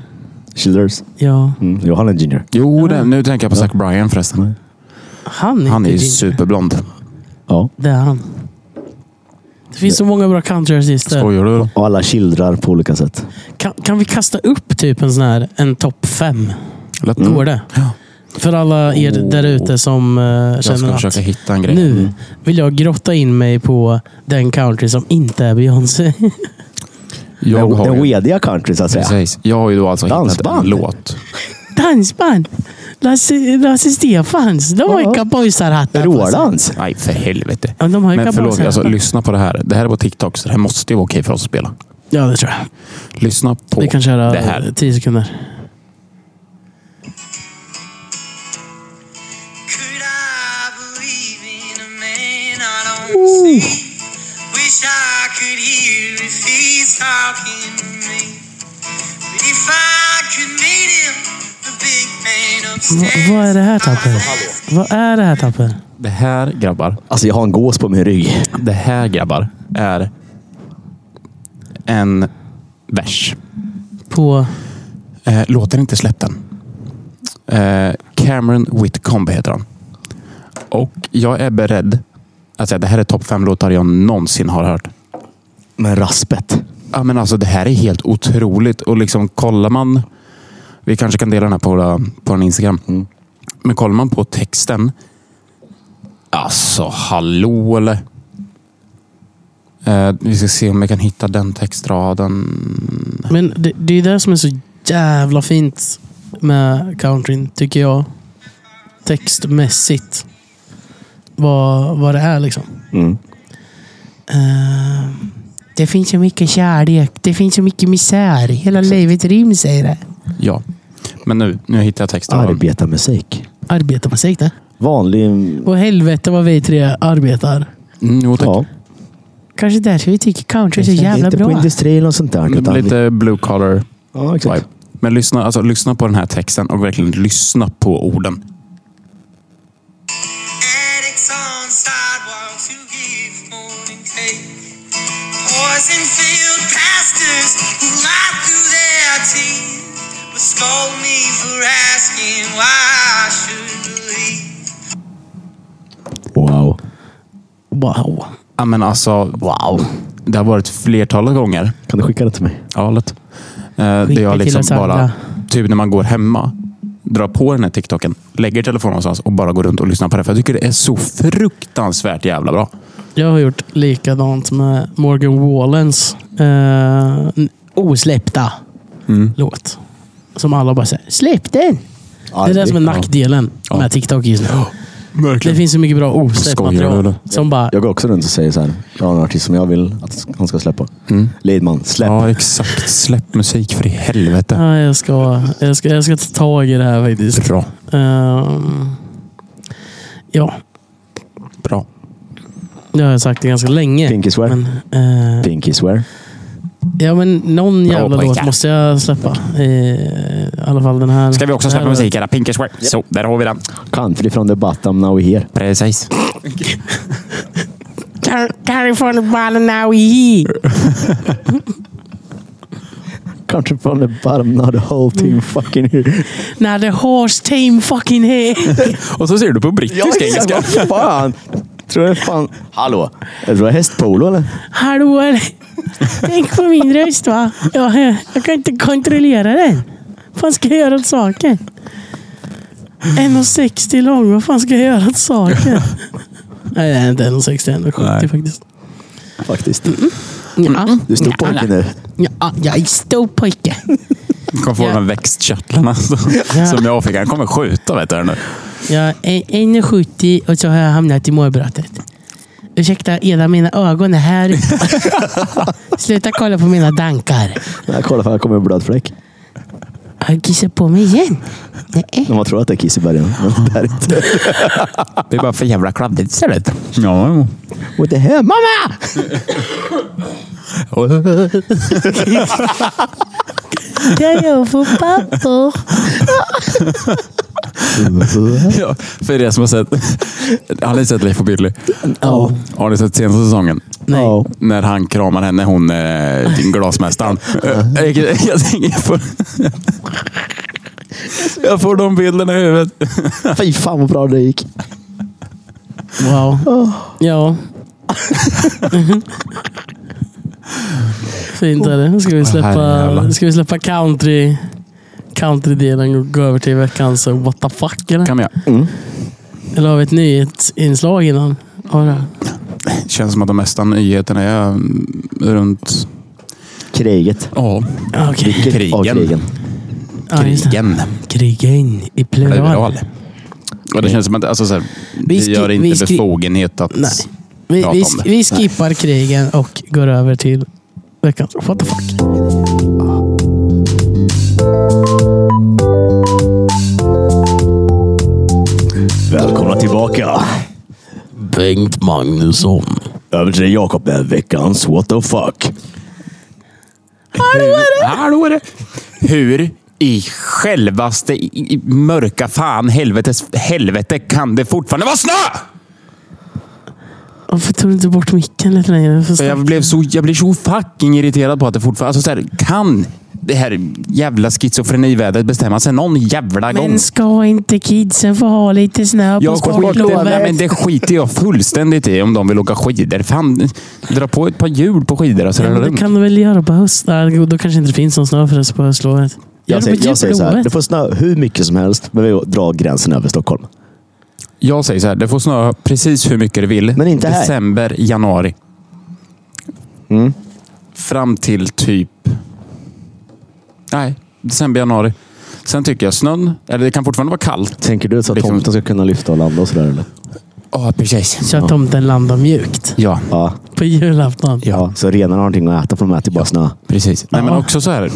Speaker 2: Childers.
Speaker 4: Ja.
Speaker 2: Mm. Jo, han är ginger.
Speaker 3: Jo, det, nu tänker jag på Zac Bryan förresten.
Speaker 4: Han är
Speaker 3: Han
Speaker 4: inte
Speaker 3: är ju
Speaker 4: ginger.
Speaker 3: superblond.
Speaker 2: Ja.
Speaker 4: Det är han. Det finns så många bra countryartister.
Speaker 3: Skojar du? då?
Speaker 2: Och alla childrar på olika sätt.
Speaker 4: Kan, kan vi kasta upp typ en sån här en topp fem?
Speaker 3: Lätt.
Speaker 4: Går det?
Speaker 3: Ja.
Speaker 4: För alla er
Speaker 3: Oh.
Speaker 4: där ute som eh,
Speaker 3: Jag ska
Speaker 4: känner att
Speaker 3: försöka hitta en grej.
Speaker 4: nu vill jag grotta in mig på den country som inte är Beyoncé.
Speaker 3: Jag
Speaker 2: Den-
Speaker 3: har
Speaker 2: Den
Speaker 3: ju,
Speaker 2: wediga country, så att säga.
Speaker 3: precis, jag har ju då alltså hittat
Speaker 2: Dansband.
Speaker 3: en låt.
Speaker 4: Dansband! Lasse, Lasse Stefans. De har ju
Speaker 2: Ja.
Speaker 4: cowboysarhattar på sig.
Speaker 2: Rålands.
Speaker 3: Nej, för helvete.
Speaker 4: Ja, de har ju
Speaker 3: Men
Speaker 4: cowboysarhattar.
Speaker 3: förlåt, alltså, lyssna på det här. Det här är på TikTok, så det här måste ju vara okej för oss att spela.
Speaker 4: Ja, det tror jag.
Speaker 3: Lyssna på
Speaker 4: Vi kan köra
Speaker 3: det här.
Speaker 4: 10 sekunder.
Speaker 5: Could I believe in a man I don't see? Wish I could hear if he's talking to me. But if I could meet him, the big man upstairs.
Speaker 4: Va, vad är det här Tapper? Vad är det här Tapper?
Speaker 3: Det här, grabbar.
Speaker 2: Alltså, jag har en gås på min rygg.
Speaker 3: Det här, grabbar, är en vers.
Speaker 4: På...
Speaker 3: Eh, låten är inte släppt än. Eh, Cameron Whitcomb heter han. Och jag är beredd att säga att det här är topp fem låtar jag någonsin har hört.
Speaker 2: Med raspet.
Speaker 3: Ja, men alltså, det här är helt otroligt. Och liksom kollar man... Vi kanske kan dela den här på, våra, på en Instagram. Men kollar man på texten. Alltså, hallå eller? Eh, vi ska se om jag kan hitta den textraden.
Speaker 4: Men det, det är ju det som är så jävla fint med countryn, tycker jag. Textmässigt. Vad, vad det är liksom.
Speaker 2: Mm.
Speaker 4: Eh, det finns så mycket kärlek. Det finns så mycket misär. Hela livet ryms i det.
Speaker 3: Ja. Men nu, nu hittar jag textraden.
Speaker 2: Arbetarmusik.
Speaker 4: Arbetar man sig inte?
Speaker 2: Vanlig...
Speaker 4: Och helvete vad vi tre arbetar.
Speaker 3: Mm, jo, tack.
Speaker 2: Ja.
Speaker 4: Kanske därför vi tycker country är så jävla
Speaker 2: inte på
Speaker 4: bra.
Speaker 2: industri eller något sånt där.
Speaker 3: Det
Speaker 2: Utan
Speaker 3: blir Mm, lite Typ. blue collar
Speaker 2: Ja,
Speaker 3: vibe.
Speaker 2: exakt.
Speaker 3: Men lyssna, alltså, lyssna på den här texten och verkligen lyssna på orden.
Speaker 5: Addicts on sidewalks who give morning cake. Poison filled pastors who lie through their teeth. But scold me for asking why I should believe.
Speaker 2: Wow.
Speaker 4: Wow.
Speaker 3: Ja, men alltså, wow. Det har varit flertalet gånger
Speaker 2: Kan du skicka det till mig?
Speaker 3: talet. Eh, det
Speaker 4: Skicka
Speaker 3: jag
Speaker 4: till
Speaker 3: liksom
Speaker 4: oss
Speaker 3: bara,
Speaker 4: andra.
Speaker 3: typ när man går hemma, drar på den här TikToken, lägger telefonen någonstans och bara går runt och lyssnar på det. För jag tycker det är så fruktansvärt jävla bra.
Speaker 4: Jag har gjort likadant med Morgan Wallens eh, n- osläppta låt. Som alla bara säger, släpp den! det är det som är nackdelen med TikTok just nu. Det
Speaker 3: Verkligen.
Speaker 4: finns så mycket bra osläppt
Speaker 3: Skojar du,
Speaker 4: material.
Speaker 3: eller?
Speaker 4: Som bara,
Speaker 2: Jag går också runt och säger så här. Jag har en artist som jag vill att han ska släppa. Lidman, släpp.
Speaker 3: Mm. Ja, exakt. Släpp musik för i helvete.
Speaker 4: "Ah, jag ska, jag, ska, jag ska ta tag i det här faktiskt.
Speaker 3: Bra.
Speaker 4: Ehm, ja,
Speaker 3: Bra.
Speaker 4: det har jag sagt det ganska länge.
Speaker 2: Pinky swear.
Speaker 4: Men, eh,
Speaker 2: Pinky swear.
Speaker 4: ja, men någon
Speaker 3: Bra
Speaker 4: jävla
Speaker 3: pojkar.
Speaker 4: låt måste jag släppa. I, I alla fall den här.
Speaker 3: Ska vi också
Speaker 4: det här
Speaker 3: släppa
Speaker 4: låten.
Speaker 3: musik? Era Pinkerswear. Så, där har vi den.
Speaker 2: Country från the bottom now here.
Speaker 3: Precis.
Speaker 4: California ballen now i.
Speaker 2: Country från the bottom now the
Speaker 4: Mm.
Speaker 2: whole team fucking here.
Speaker 4: Now the horse team fucking here.
Speaker 3: Och så ser du på brittisk engelska.
Speaker 2: Vad fan? Tror du fan... Hallå? Är det hästpolo eller?
Speaker 4: Hallå eller? Tänk på min röst va? Jag, jag kan inte kontrollera den. Vad fan ska jag göra åt saken? 1,60 lång. Vad fan ska jag göra åt saken? Nej, det är inte 1,60. 1,70
Speaker 3: Nej.
Speaker 4: faktiskt.
Speaker 2: Faktiskt.
Speaker 4: Mm. Ja,
Speaker 2: Du står pojken nu.
Speaker 4: ja, jag är stor pojke.
Speaker 3: Kommer få de här växtkörtlarna som som jag fick. Han kommer skjuta vet du. här nu.
Speaker 4: Jag är 1,70 och så har jag hamnat i målbrottet. Ursäkta Eda, mina ögon är här ute. Sluta kolla på mina dankar.
Speaker 2: Nej, kolla, för här kommer en blöd fläck.
Speaker 4: Har du kissat på mig igen? Nej.
Speaker 2: Man tror att det är kiss i bergen, men det är det inte.
Speaker 3: Det är bara för jävla kladdigt ser det ut. Ja,
Speaker 2: What the hell? Mamma!
Speaker 4: Jag är för pappor.
Speaker 3: ja. För det som har sett... Har ni sett Leif och Billy?
Speaker 2: Ja.
Speaker 3: Har ni sett senaste säsongen?
Speaker 4: Nej.
Speaker 2: Ja.
Speaker 3: När han kramar henne, hon eh, din glasmästaren. Eh, jag, jag, tänker- jag, får, jag får de bilderna i huvudet.
Speaker 2: Fy fan vad bra det gick.
Speaker 4: Wow. Ja. Fint är det. Nu ska vi
Speaker 3: herrejävlar.
Speaker 4: släppa, ska vi släppa country country-delen och gå över till veckans uh, what the fuck. Eller,
Speaker 3: Kan jag?
Speaker 4: eller har vi ett nyhetsinslag innan? Har vi det?
Speaker 3: Känns som att de mesta nyheterna är mm, runt...
Speaker 2: Kriget.
Speaker 3: Ja,
Speaker 4: Ah, Okej.
Speaker 2: Vilket
Speaker 3: Krigen.
Speaker 2: av krigen.
Speaker 4: Ja, just det.
Speaker 3: krigen.
Speaker 4: Krigen i plural.
Speaker 3: Plural. Och det känns som att alltså, så här, vi,
Speaker 4: Vi skri-
Speaker 3: gör
Speaker 4: vi
Speaker 3: inte
Speaker 4: skri-
Speaker 3: befogenhet att...
Speaker 4: Nej. Vi,
Speaker 3: Prata
Speaker 4: vi,
Speaker 3: om det.
Speaker 4: vi skippar krigen och går över till veckans what the fuck.
Speaker 2: Välkomna tillbaka.
Speaker 1: Bengt Magnusson.
Speaker 2: Över till Jakob med veckans what the fuck.
Speaker 3: Hallå är det! Hur i självaste i, i mörka fan helvetes helvete kan det fortfarande vara snö?
Speaker 4: Varför tog du inte bort micken lite längre? Så
Speaker 3: Så Jag blev, så, jag blev så fucking irriterad på att det fortfarande... Alltså så här, kan det här jävla schizofrenivädret bestämma sig någon jävla gång?
Speaker 4: Men ska inte kidsen få ha lite snö på
Speaker 3: Jag skiter, nej, men
Speaker 4: sportlovet?
Speaker 3: det skiter jag fullständigt i om de vill åka skidor. Fan, dra på ett par hjul på skidor och så
Speaker 4: Ja,
Speaker 3: rullar
Speaker 4: men
Speaker 3: runt.
Speaker 4: det kan du väl göra på hösten? Då kanske inte det finns någon snö förrän på höstlovet. Gör
Speaker 2: Jag
Speaker 4: det
Speaker 2: säger,
Speaker 4: på
Speaker 2: jag säger så här.
Speaker 4: jullovet.
Speaker 2: Det får snö hur mycket som helst, men vi drar gränsen över Stockholm.
Speaker 3: Jag säger så här, det får snöa precis hur mycket det vill.
Speaker 2: Men inte här. Mm.
Speaker 3: December, januari. Fram till typ... Nej, december, januari. Sen tycker jag snön, eller det kan fortfarande vara kallt.
Speaker 2: Tänker du så att
Speaker 3: Liksom-
Speaker 2: tomten ska kunna lyfta och landa och sådär eller?
Speaker 3: Ja, precis.
Speaker 4: Så att tomten landar mjukt
Speaker 3: Ja,
Speaker 2: Ja.
Speaker 4: på julafton.
Speaker 2: ja. Så renarna har någonting att äta för de äter ju bara snö.
Speaker 3: precis. Nej, men också så här.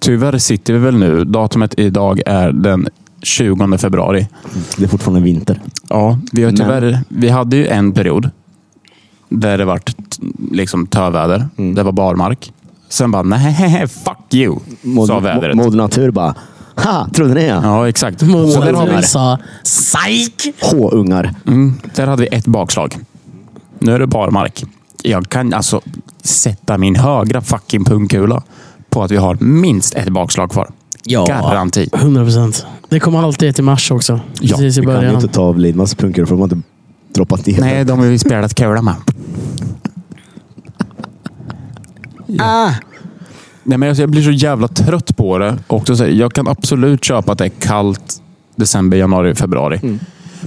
Speaker 3: Tyvärr sitter vi väl nu. Datumet idag är den 20 februari.
Speaker 2: Det är fortfarande vinter.
Speaker 3: Ja, vi, har
Speaker 2: Men-
Speaker 3: tyvärr, vi hade ju en period där det vart t- liksom töväder. Det var barmark. Sen bara, nej, fuck you, sa vädret.
Speaker 2: Moder Natur bara, ha, trodde ni ja?
Speaker 3: ja, exakt. Så där, har vi
Speaker 4: Mormor
Speaker 3: det.
Speaker 4: sa psyk!
Speaker 2: H-ungar.
Speaker 3: Mm, där hade vi ett bakslag. Nu är det barmark. Jag kan alltså sätta min högra fucking pungkula på att vi har minst ett bakslag kvar.
Speaker 1: Ja.
Speaker 3: Garanti.
Speaker 4: 100 procent. Det kommer alltid ett i mars också.
Speaker 3: Ja,
Speaker 4: Precis i
Speaker 2: Vi kan ju
Speaker 4: början.
Speaker 2: inte ta av Lidmans punkor för de har inte droppat ner.
Speaker 3: Nej, de har vi spelat kula med. Ah. Nej, men alltså, jag blir så jävla trött på det. Och så, säger jag, jag kan absolut köpa att det är kallt december, januari, februari.
Speaker 4: Mm.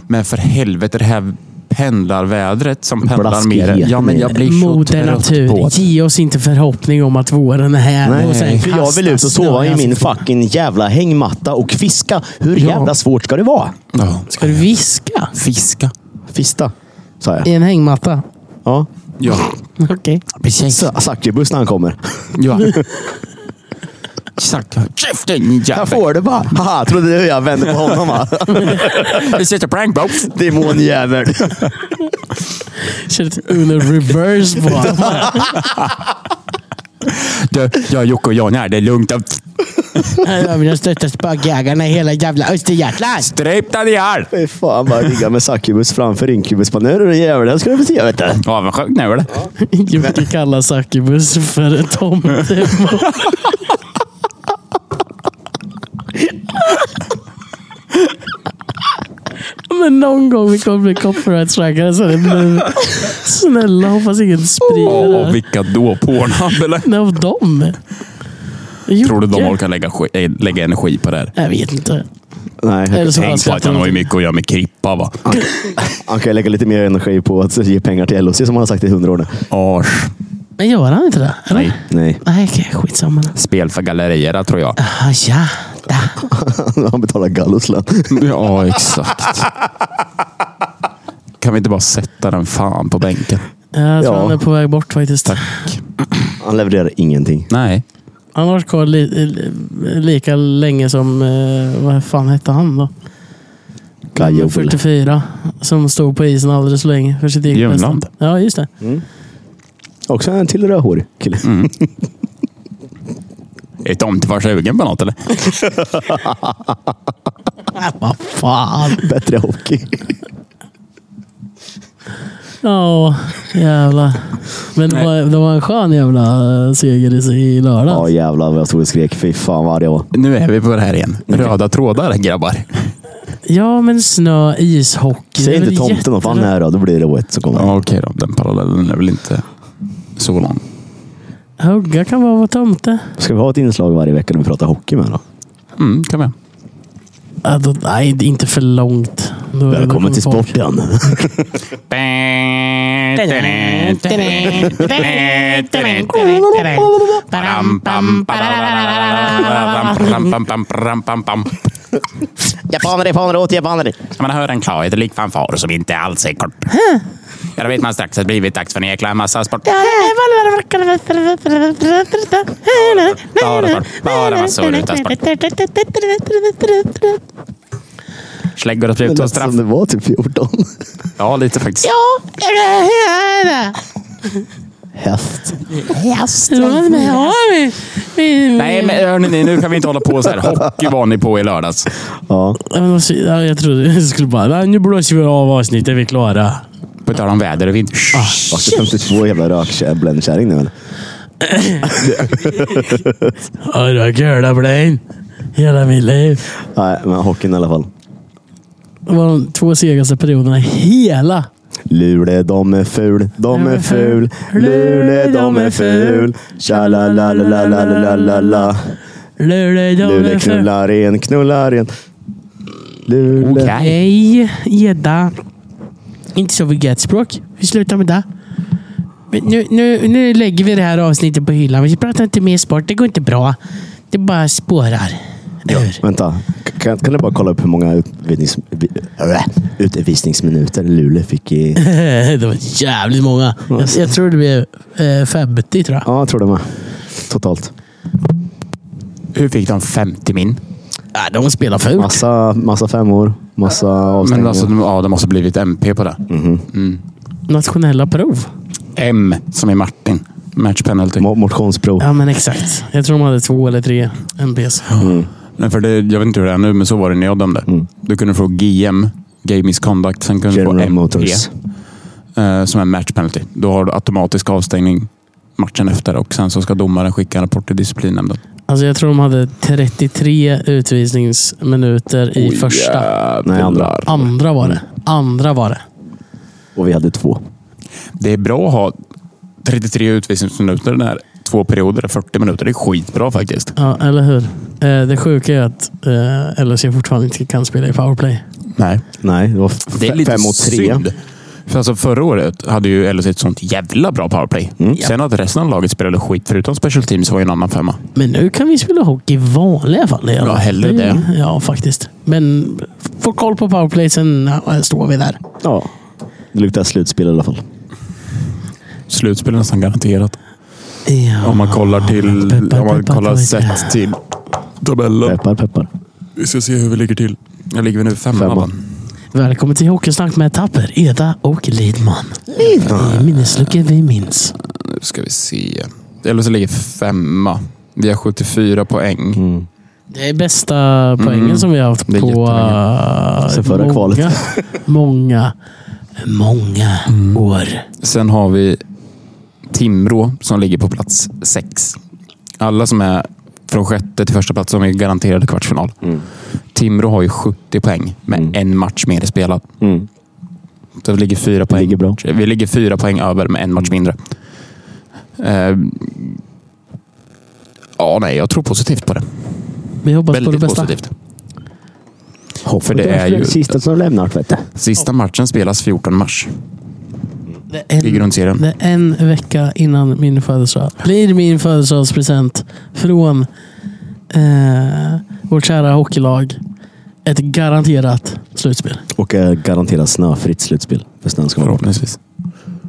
Speaker 3: Men för helvete, det här pendlarvädret som pendlar mer.
Speaker 2: Blaskigheten
Speaker 3: Ja, men
Speaker 2: i
Speaker 3: jag
Speaker 2: det.
Speaker 3: blir så
Speaker 4: Moder
Speaker 3: trött
Speaker 4: natur,
Speaker 3: på det.
Speaker 4: ge oss inte förhoppning om att våren är här. och sen
Speaker 2: för jag vill ut
Speaker 4: kasta
Speaker 2: och sova i
Speaker 4: snö
Speaker 2: min
Speaker 4: ansiktet.
Speaker 2: fucking jävla hängmatta och fiska. Hur jävla svårt ska det vara?
Speaker 3: Ja.
Speaker 4: Ska du viska?
Speaker 3: Fiska.
Speaker 2: Fista, sa
Speaker 4: I
Speaker 2: jag.
Speaker 4: en hängmatta?
Speaker 2: Ja.
Speaker 3: Ja,
Speaker 4: Okej.
Speaker 3: precis.
Speaker 2: Sa- Zuckerbuss när han kommer.
Speaker 3: Ja. Exakt. Käften, ni
Speaker 2: Jag
Speaker 3: jävel!
Speaker 2: får det bara. Haha, trodde du jag vände på honom va?
Speaker 3: Vi sitter prank, bro!
Speaker 2: Demonjävel.
Speaker 4: Kör ett Uno reverse på honom.
Speaker 3: Du, jag, Jocke och Jan här. Det är lugnt.
Speaker 4: En av mina största spökjägarna i hela jävla Östergötland.
Speaker 3: Stryp den ihjäl!
Speaker 2: Fy fan, bara ligga med Zuckerbuss framför Inkubus. Bara, Nu är du jävel, det ska du få se vet du.
Speaker 3: Avundsjuk nu eller?
Speaker 4: Jocke kallar Succubus för en tomte. Men någon gång vi kommer bli copyright-strikade så är det nu. Snälla, hoppas ingen sprider det
Speaker 3: Åh,
Speaker 4: här.
Speaker 3: vilka då? Pornhub eller?
Speaker 4: Nej, av dem?
Speaker 3: Tror du de
Speaker 4: Jocke?
Speaker 3: orkar lägga, sk- eh, lägga energi på det här?
Speaker 4: Jag vet inte.
Speaker 2: Nej,
Speaker 4: Eller så har han
Speaker 3: Tänk på att han
Speaker 4: skrattat
Speaker 3: har ju
Speaker 4: åt det.
Speaker 3: mycket att göra med Krippa va?
Speaker 2: han kan ju lägga lite mer energi på att ge pengar till LOC som han har sagt i hundra år nu.
Speaker 3: Ars.
Speaker 4: Men gör han inte det? Eller?
Speaker 3: Nej.
Speaker 2: Nej,
Speaker 4: Nej, okej. Skitsamma.
Speaker 3: Spel för gallerierna tror jag.
Speaker 4: Ah, ja. Da.
Speaker 2: han betalar Gallos lön.
Speaker 3: Ja, exakt. Kan vi inte bara sätta den fan på bänken?
Speaker 4: Jag tror
Speaker 2: Ja.
Speaker 4: han är på väg bort faktiskt.
Speaker 2: Han levererar ingenting.
Speaker 3: Nej.
Speaker 4: Han har varit kvar li, li, lika länge som, eh, vad fan hette han då? Mm,
Speaker 2: Gajo.
Speaker 4: 44. Som stod på isen alldeles för länge. För sitt eget bästa.
Speaker 3: Ljungland.
Speaker 4: Ja, just det.
Speaker 2: Också en till rödhårig kille.
Speaker 3: Är Tom inte för sugen på något eller?
Speaker 4: Vad fan.
Speaker 2: Bättre hockey.
Speaker 4: Ja, jävlar. Men det var, det var en skön jävla eh, seger i, i lördags.
Speaker 2: Ja jävlar vad jag stod och skrek. Fy fan vad arg jag var.
Speaker 3: Nu är vi på det här igen. Röda trådar grabbar.
Speaker 4: Ja, men snö, ishockey.
Speaker 2: Säg
Speaker 4: det är
Speaker 2: inte
Speaker 4: väl
Speaker 2: tomten och fan här då. Då blir det ett som kommer.
Speaker 3: Ja, okej då. Den parallellen är väl inte så lång.
Speaker 4: jätte- Hugga kan vara vår tomte.
Speaker 2: Ska vi ha ett inslag varje vecka när vi pratar hockey med då?
Speaker 3: Mm, kan vi.
Speaker 4: Ja, då, nej, det är inte för långt. Då- då kommer
Speaker 2: Välkommen till
Speaker 4: folk.
Speaker 2: sporten. Japaner, japaner, åt japaner.
Speaker 3: Man hör en klarhet lik fanfar som inte alls är kort. Ja, då vet man strax att det blivit dags för en jäkla massa sport. Bara, bara massor utan sport. Släggor och
Speaker 2: Det
Speaker 3: spjut och
Speaker 2: lät
Speaker 3: straff.
Speaker 2: som det var typ 14.
Speaker 3: Ja, lite faktiskt.
Speaker 2: Häst.
Speaker 4: Ja, men har vi- vi-
Speaker 3: Nej, men hörni, ni, nu kan vi inte hålla på så här. Hockey var ni på i lördags.
Speaker 2: Ja.
Speaker 4: Ja, men vad sy- ja, Jag trodde jag skulle bara, "Nej, nu blåser vi av avsnittet, vi är klara.
Speaker 3: På tal om väder och vind.
Speaker 2: Vart det 52 jävla rökblendkärring nu eller?
Speaker 4: Hörru, gula blin. Hela mitt liv.
Speaker 2: Nej, men hockeyn i alla fall.
Speaker 4: Det var de två segaste perioderna i hela.
Speaker 2: Lule de är ful, de är ful. Lule de är ful. Tja la la la la la la la la.
Speaker 4: Luleå, de
Speaker 2: Lule
Speaker 4: är för-
Speaker 2: knullar en, knullar en. Lule.
Speaker 3: Okej.
Speaker 4: Nej, gädda. Inte så vulgärt språk. Vi slutar med det. Men Nu, nu, nu lägger vi det här avsnittet på hyllan. Vi pratar inte mer sport. Det går inte bra. Det bara spårar. Ur.
Speaker 2: Vänta, K- kan, kan du bara kolla upp hur många utvisnings, vi- äh, utvisningsminuter Lule fick i...
Speaker 4: det var jävligt många. Jag, jag tror det blev eh, 50 tror jag.
Speaker 2: Ja, jag tror det med. Totalt.
Speaker 3: Hur fick de 50 min?
Speaker 4: Ja, de spelar fult.
Speaker 2: Massa, massa femmor, massa
Speaker 3: Men
Speaker 2: avstängningar.
Speaker 3: alltså, de- ja, de måste ha blivit MP på det.
Speaker 4: Nationella prov.
Speaker 3: M som i Martin. Match penalty.
Speaker 2: Mo- Motionsprov.
Speaker 4: Ja, men exakt. Jag tror de hade två eller tre MPs.
Speaker 3: Nej, för det, jag vet inte hur det är nu, men så var det när jag dömde. Du kunde få GM, Game Misconduct. Sen kunde du
Speaker 2: Mm. General
Speaker 3: få MP,
Speaker 2: Motors.
Speaker 3: eh, som är match penalty. Då har du automatisk avstängning matchen efter och sen så ska domaren skicka en rapport till disciplinnämnden.
Speaker 4: Alltså jag tror de hade 33 utvisningsminuter i första.
Speaker 2: Nej, andra.
Speaker 4: Andra var det. Andra var det.
Speaker 2: Och vi hade två.
Speaker 3: Det är bra att ha 33 utvisningsminuter när två perioder är 40 minuter. Det är skitbra faktiskt.
Speaker 4: Ja, eller hur? Eh, det sjuka är att eh, LHC fortfarande inte kan spela i powerplay.
Speaker 3: Nej.
Speaker 2: Nej, det var f-
Speaker 3: Det är lite
Speaker 2: fem mot tre.
Speaker 3: synd. För alltså förra året hade ju LHC ett sånt jävla bra powerplay.
Speaker 2: Mm.
Speaker 3: Sen att resten av laget spelade skit, förutom special teams, var ju en annan femma.
Speaker 4: Men nu kan vi spela hockey i vanliga fall. i alla
Speaker 3: Ja,
Speaker 4: fall.
Speaker 3: hellre det.
Speaker 4: Ja, faktiskt. Men få koll på powerplay, sen ja, står vi där.
Speaker 2: Ja. Det luktar slutspel i alla fall.
Speaker 3: Slutspel är nästan garanterat.
Speaker 4: Ja.
Speaker 3: Om man kollar till...
Speaker 4: Peppar,
Speaker 3: om man
Speaker 4: peppar,
Speaker 3: kollar
Speaker 4: pojkar.
Speaker 3: sett till tabellen.
Speaker 2: Peppar, peppar.
Speaker 3: Vi ska se hur vi ligger till. Jag ligger vi nu femma.
Speaker 2: Femma.
Speaker 3: va?
Speaker 4: Välkommen till Hockeysnack med Tapper, Eda och Lidman. Lidman. I minnesluckor vi minns.
Speaker 3: Nu ska vi se. Eller så ligger femma. Vi har 74 poäng.
Speaker 4: Det är bästa poängen som vi har haft
Speaker 3: Mm. Det är
Speaker 4: på eh,
Speaker 2: jättelänge. Sen förra
Speaker 4: många,
Speaker 2: kvalet.
Speaker 4: många, många
Speaker 3: Mm.
Speaker 4: år.
Speaker 3: Sen har vi Timrå som ligger på plats sex. Alla som är från sjätte till första plats som är garanterade kvartsfinal. Timrå har ju 70 poäng med en match mer spelad.
Speaker 2: Mm.
Speaker 3: Så vi ligger fyra poäng.
Speaker 2: ligger bra.
Speaker 3: Vi ligger fyra poäng över med en match mindre. Eh, ja, nej, jag tror positivt på det.
Speaker 4: Vi hoppas på
Speaker 3: Väldigt
Speaker 4: det bästa.
Speaker 3: positivt.
Speaker 2: Hoppet
Speaker 3: För det är ju-
Speaker 2: sista som lämnat, vet du.
Speaker 3: Sista matchen spelas 14 mars
Speaker 4: Det är
Speaker 3: i
Speaker 4: en,
Speaker 3: grundserien.
Speaker 4: det är en vecka innan min födelsedag. Blir min födelsedagspresent från eh, vårt kära hockeylag ett garanterat slutspel.
Speaker 2: Och eh, garanterat snöfritt slutspel. För snön ska vara borta.
Speaker 3: Förhoppningsvis.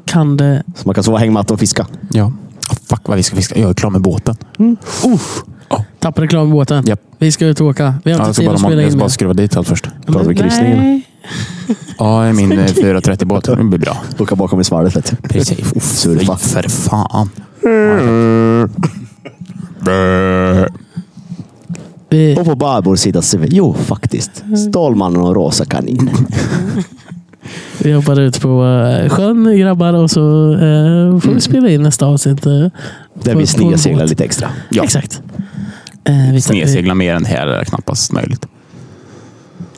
Speaker 4: Kan det...
Speaker 2: Så man kan sova hängmatta och fiska.
Speaker 3: Ja. Oh, fuck vad vi ska fiska. Jag är klar med båten.
Speaker 4: Tappa reklam i båten.
Speaker 3: Japp.
Speaker 4: Vi ska ut och åka. Vi har
Speaker 3: Ja, jag
Speaker 4: inte
Speaker 3: ska
Speaker 4: tid
Speaker 3: bara,
Speaker 4: att
Speaker 3: man,
Speaker 4: spela
Speaker 3: jag
Speaker 4: in
Speaker 3: ska bara
Speaker 4: mer.
Speaker 3: skruva dit allt först.
Speaker 2: Drar vi kryssningen?
Speaker 4: Nej.
Speaker 3: Ja, i min eh, 430-båt. Det blir bra.
Speaker 2: Åka bakom i svallet vet du.
Speaker 3: Precis. Oh,
Speaker 2: Surfa.
Speaker 3: fy för fan.
Speaker 4: Vi,
Speaker 2: Och på Barbors sida ser vi, jo faktiskt, Stålmannen och Rosa kaninen.
Speaker 4: vi hoppar ut på eh, sjön grabbar och så eh, får vi spela in nästa avsnitt. Eh, på-
Speaker 2: Där vi
Speaker 4: på en
Speaker 2: snedseglar
Speaker 4: båt.
Speaker 2: lite extra.
Speaker 3: Ja.
Speaker 4: Exakt. Eh, vi-
Speaker 3: Snedsegla mer än här är knappast möjligt.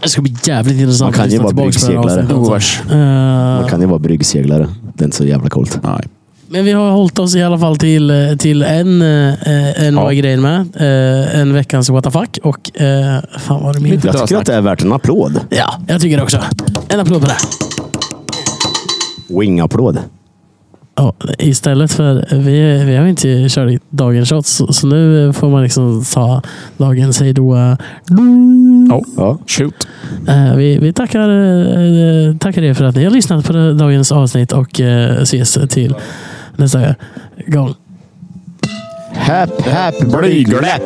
Speaker 4: Det ska bli jävligt intressant.
Speaker 2: Man kan
Speaker 4: att
Speaker 2: ju
Speaker 4: lyssna
Speaker 2: vara
Speaker 4: tillbaka på det här
Speaker 2: byggseglare.
Speaker 4: avsnittet, alltså.
Speaker 3: Oh,
Speaker 4: Eh,
Speaker 3: vars.
Speaker 2: Man kan ju vara bryggseglare. Det är inte så jävla coolt.
Speaker 3: Nej.
Speaker 4: Men vi har hållit oss i alla fall till, eh, till en, eh, en
Speaker 3: Ja.
Speaker 4: var grejen med. Eh, En veckans what the fuck. Och eh, fan var det min?
Speaker 2: Jag tycker
Speaker 3: snack.
Speaker 2: att det är värt en applåd.
Speaker 4: Ja, jag tycker det också. En applåd på det.
Speaker 2: Wing-applåd.
Speaker 4: Ja, istället för, vi, vi har inte kört dagens shots, så, så nu eh, får man liksom ta dagens hej då. eh,
Speaker 3: Ja.
Speaker 2: Ja.
Speaker 3: Shoot.
Speaker 4: Eh, Vi, vi tackar, eh, tackar er för att ni har lyssnat på det- dagens avsnitt och eh, ses till nästa gång.
Speaker 2: Happ, happ,
Speaker 3: Blygläpp!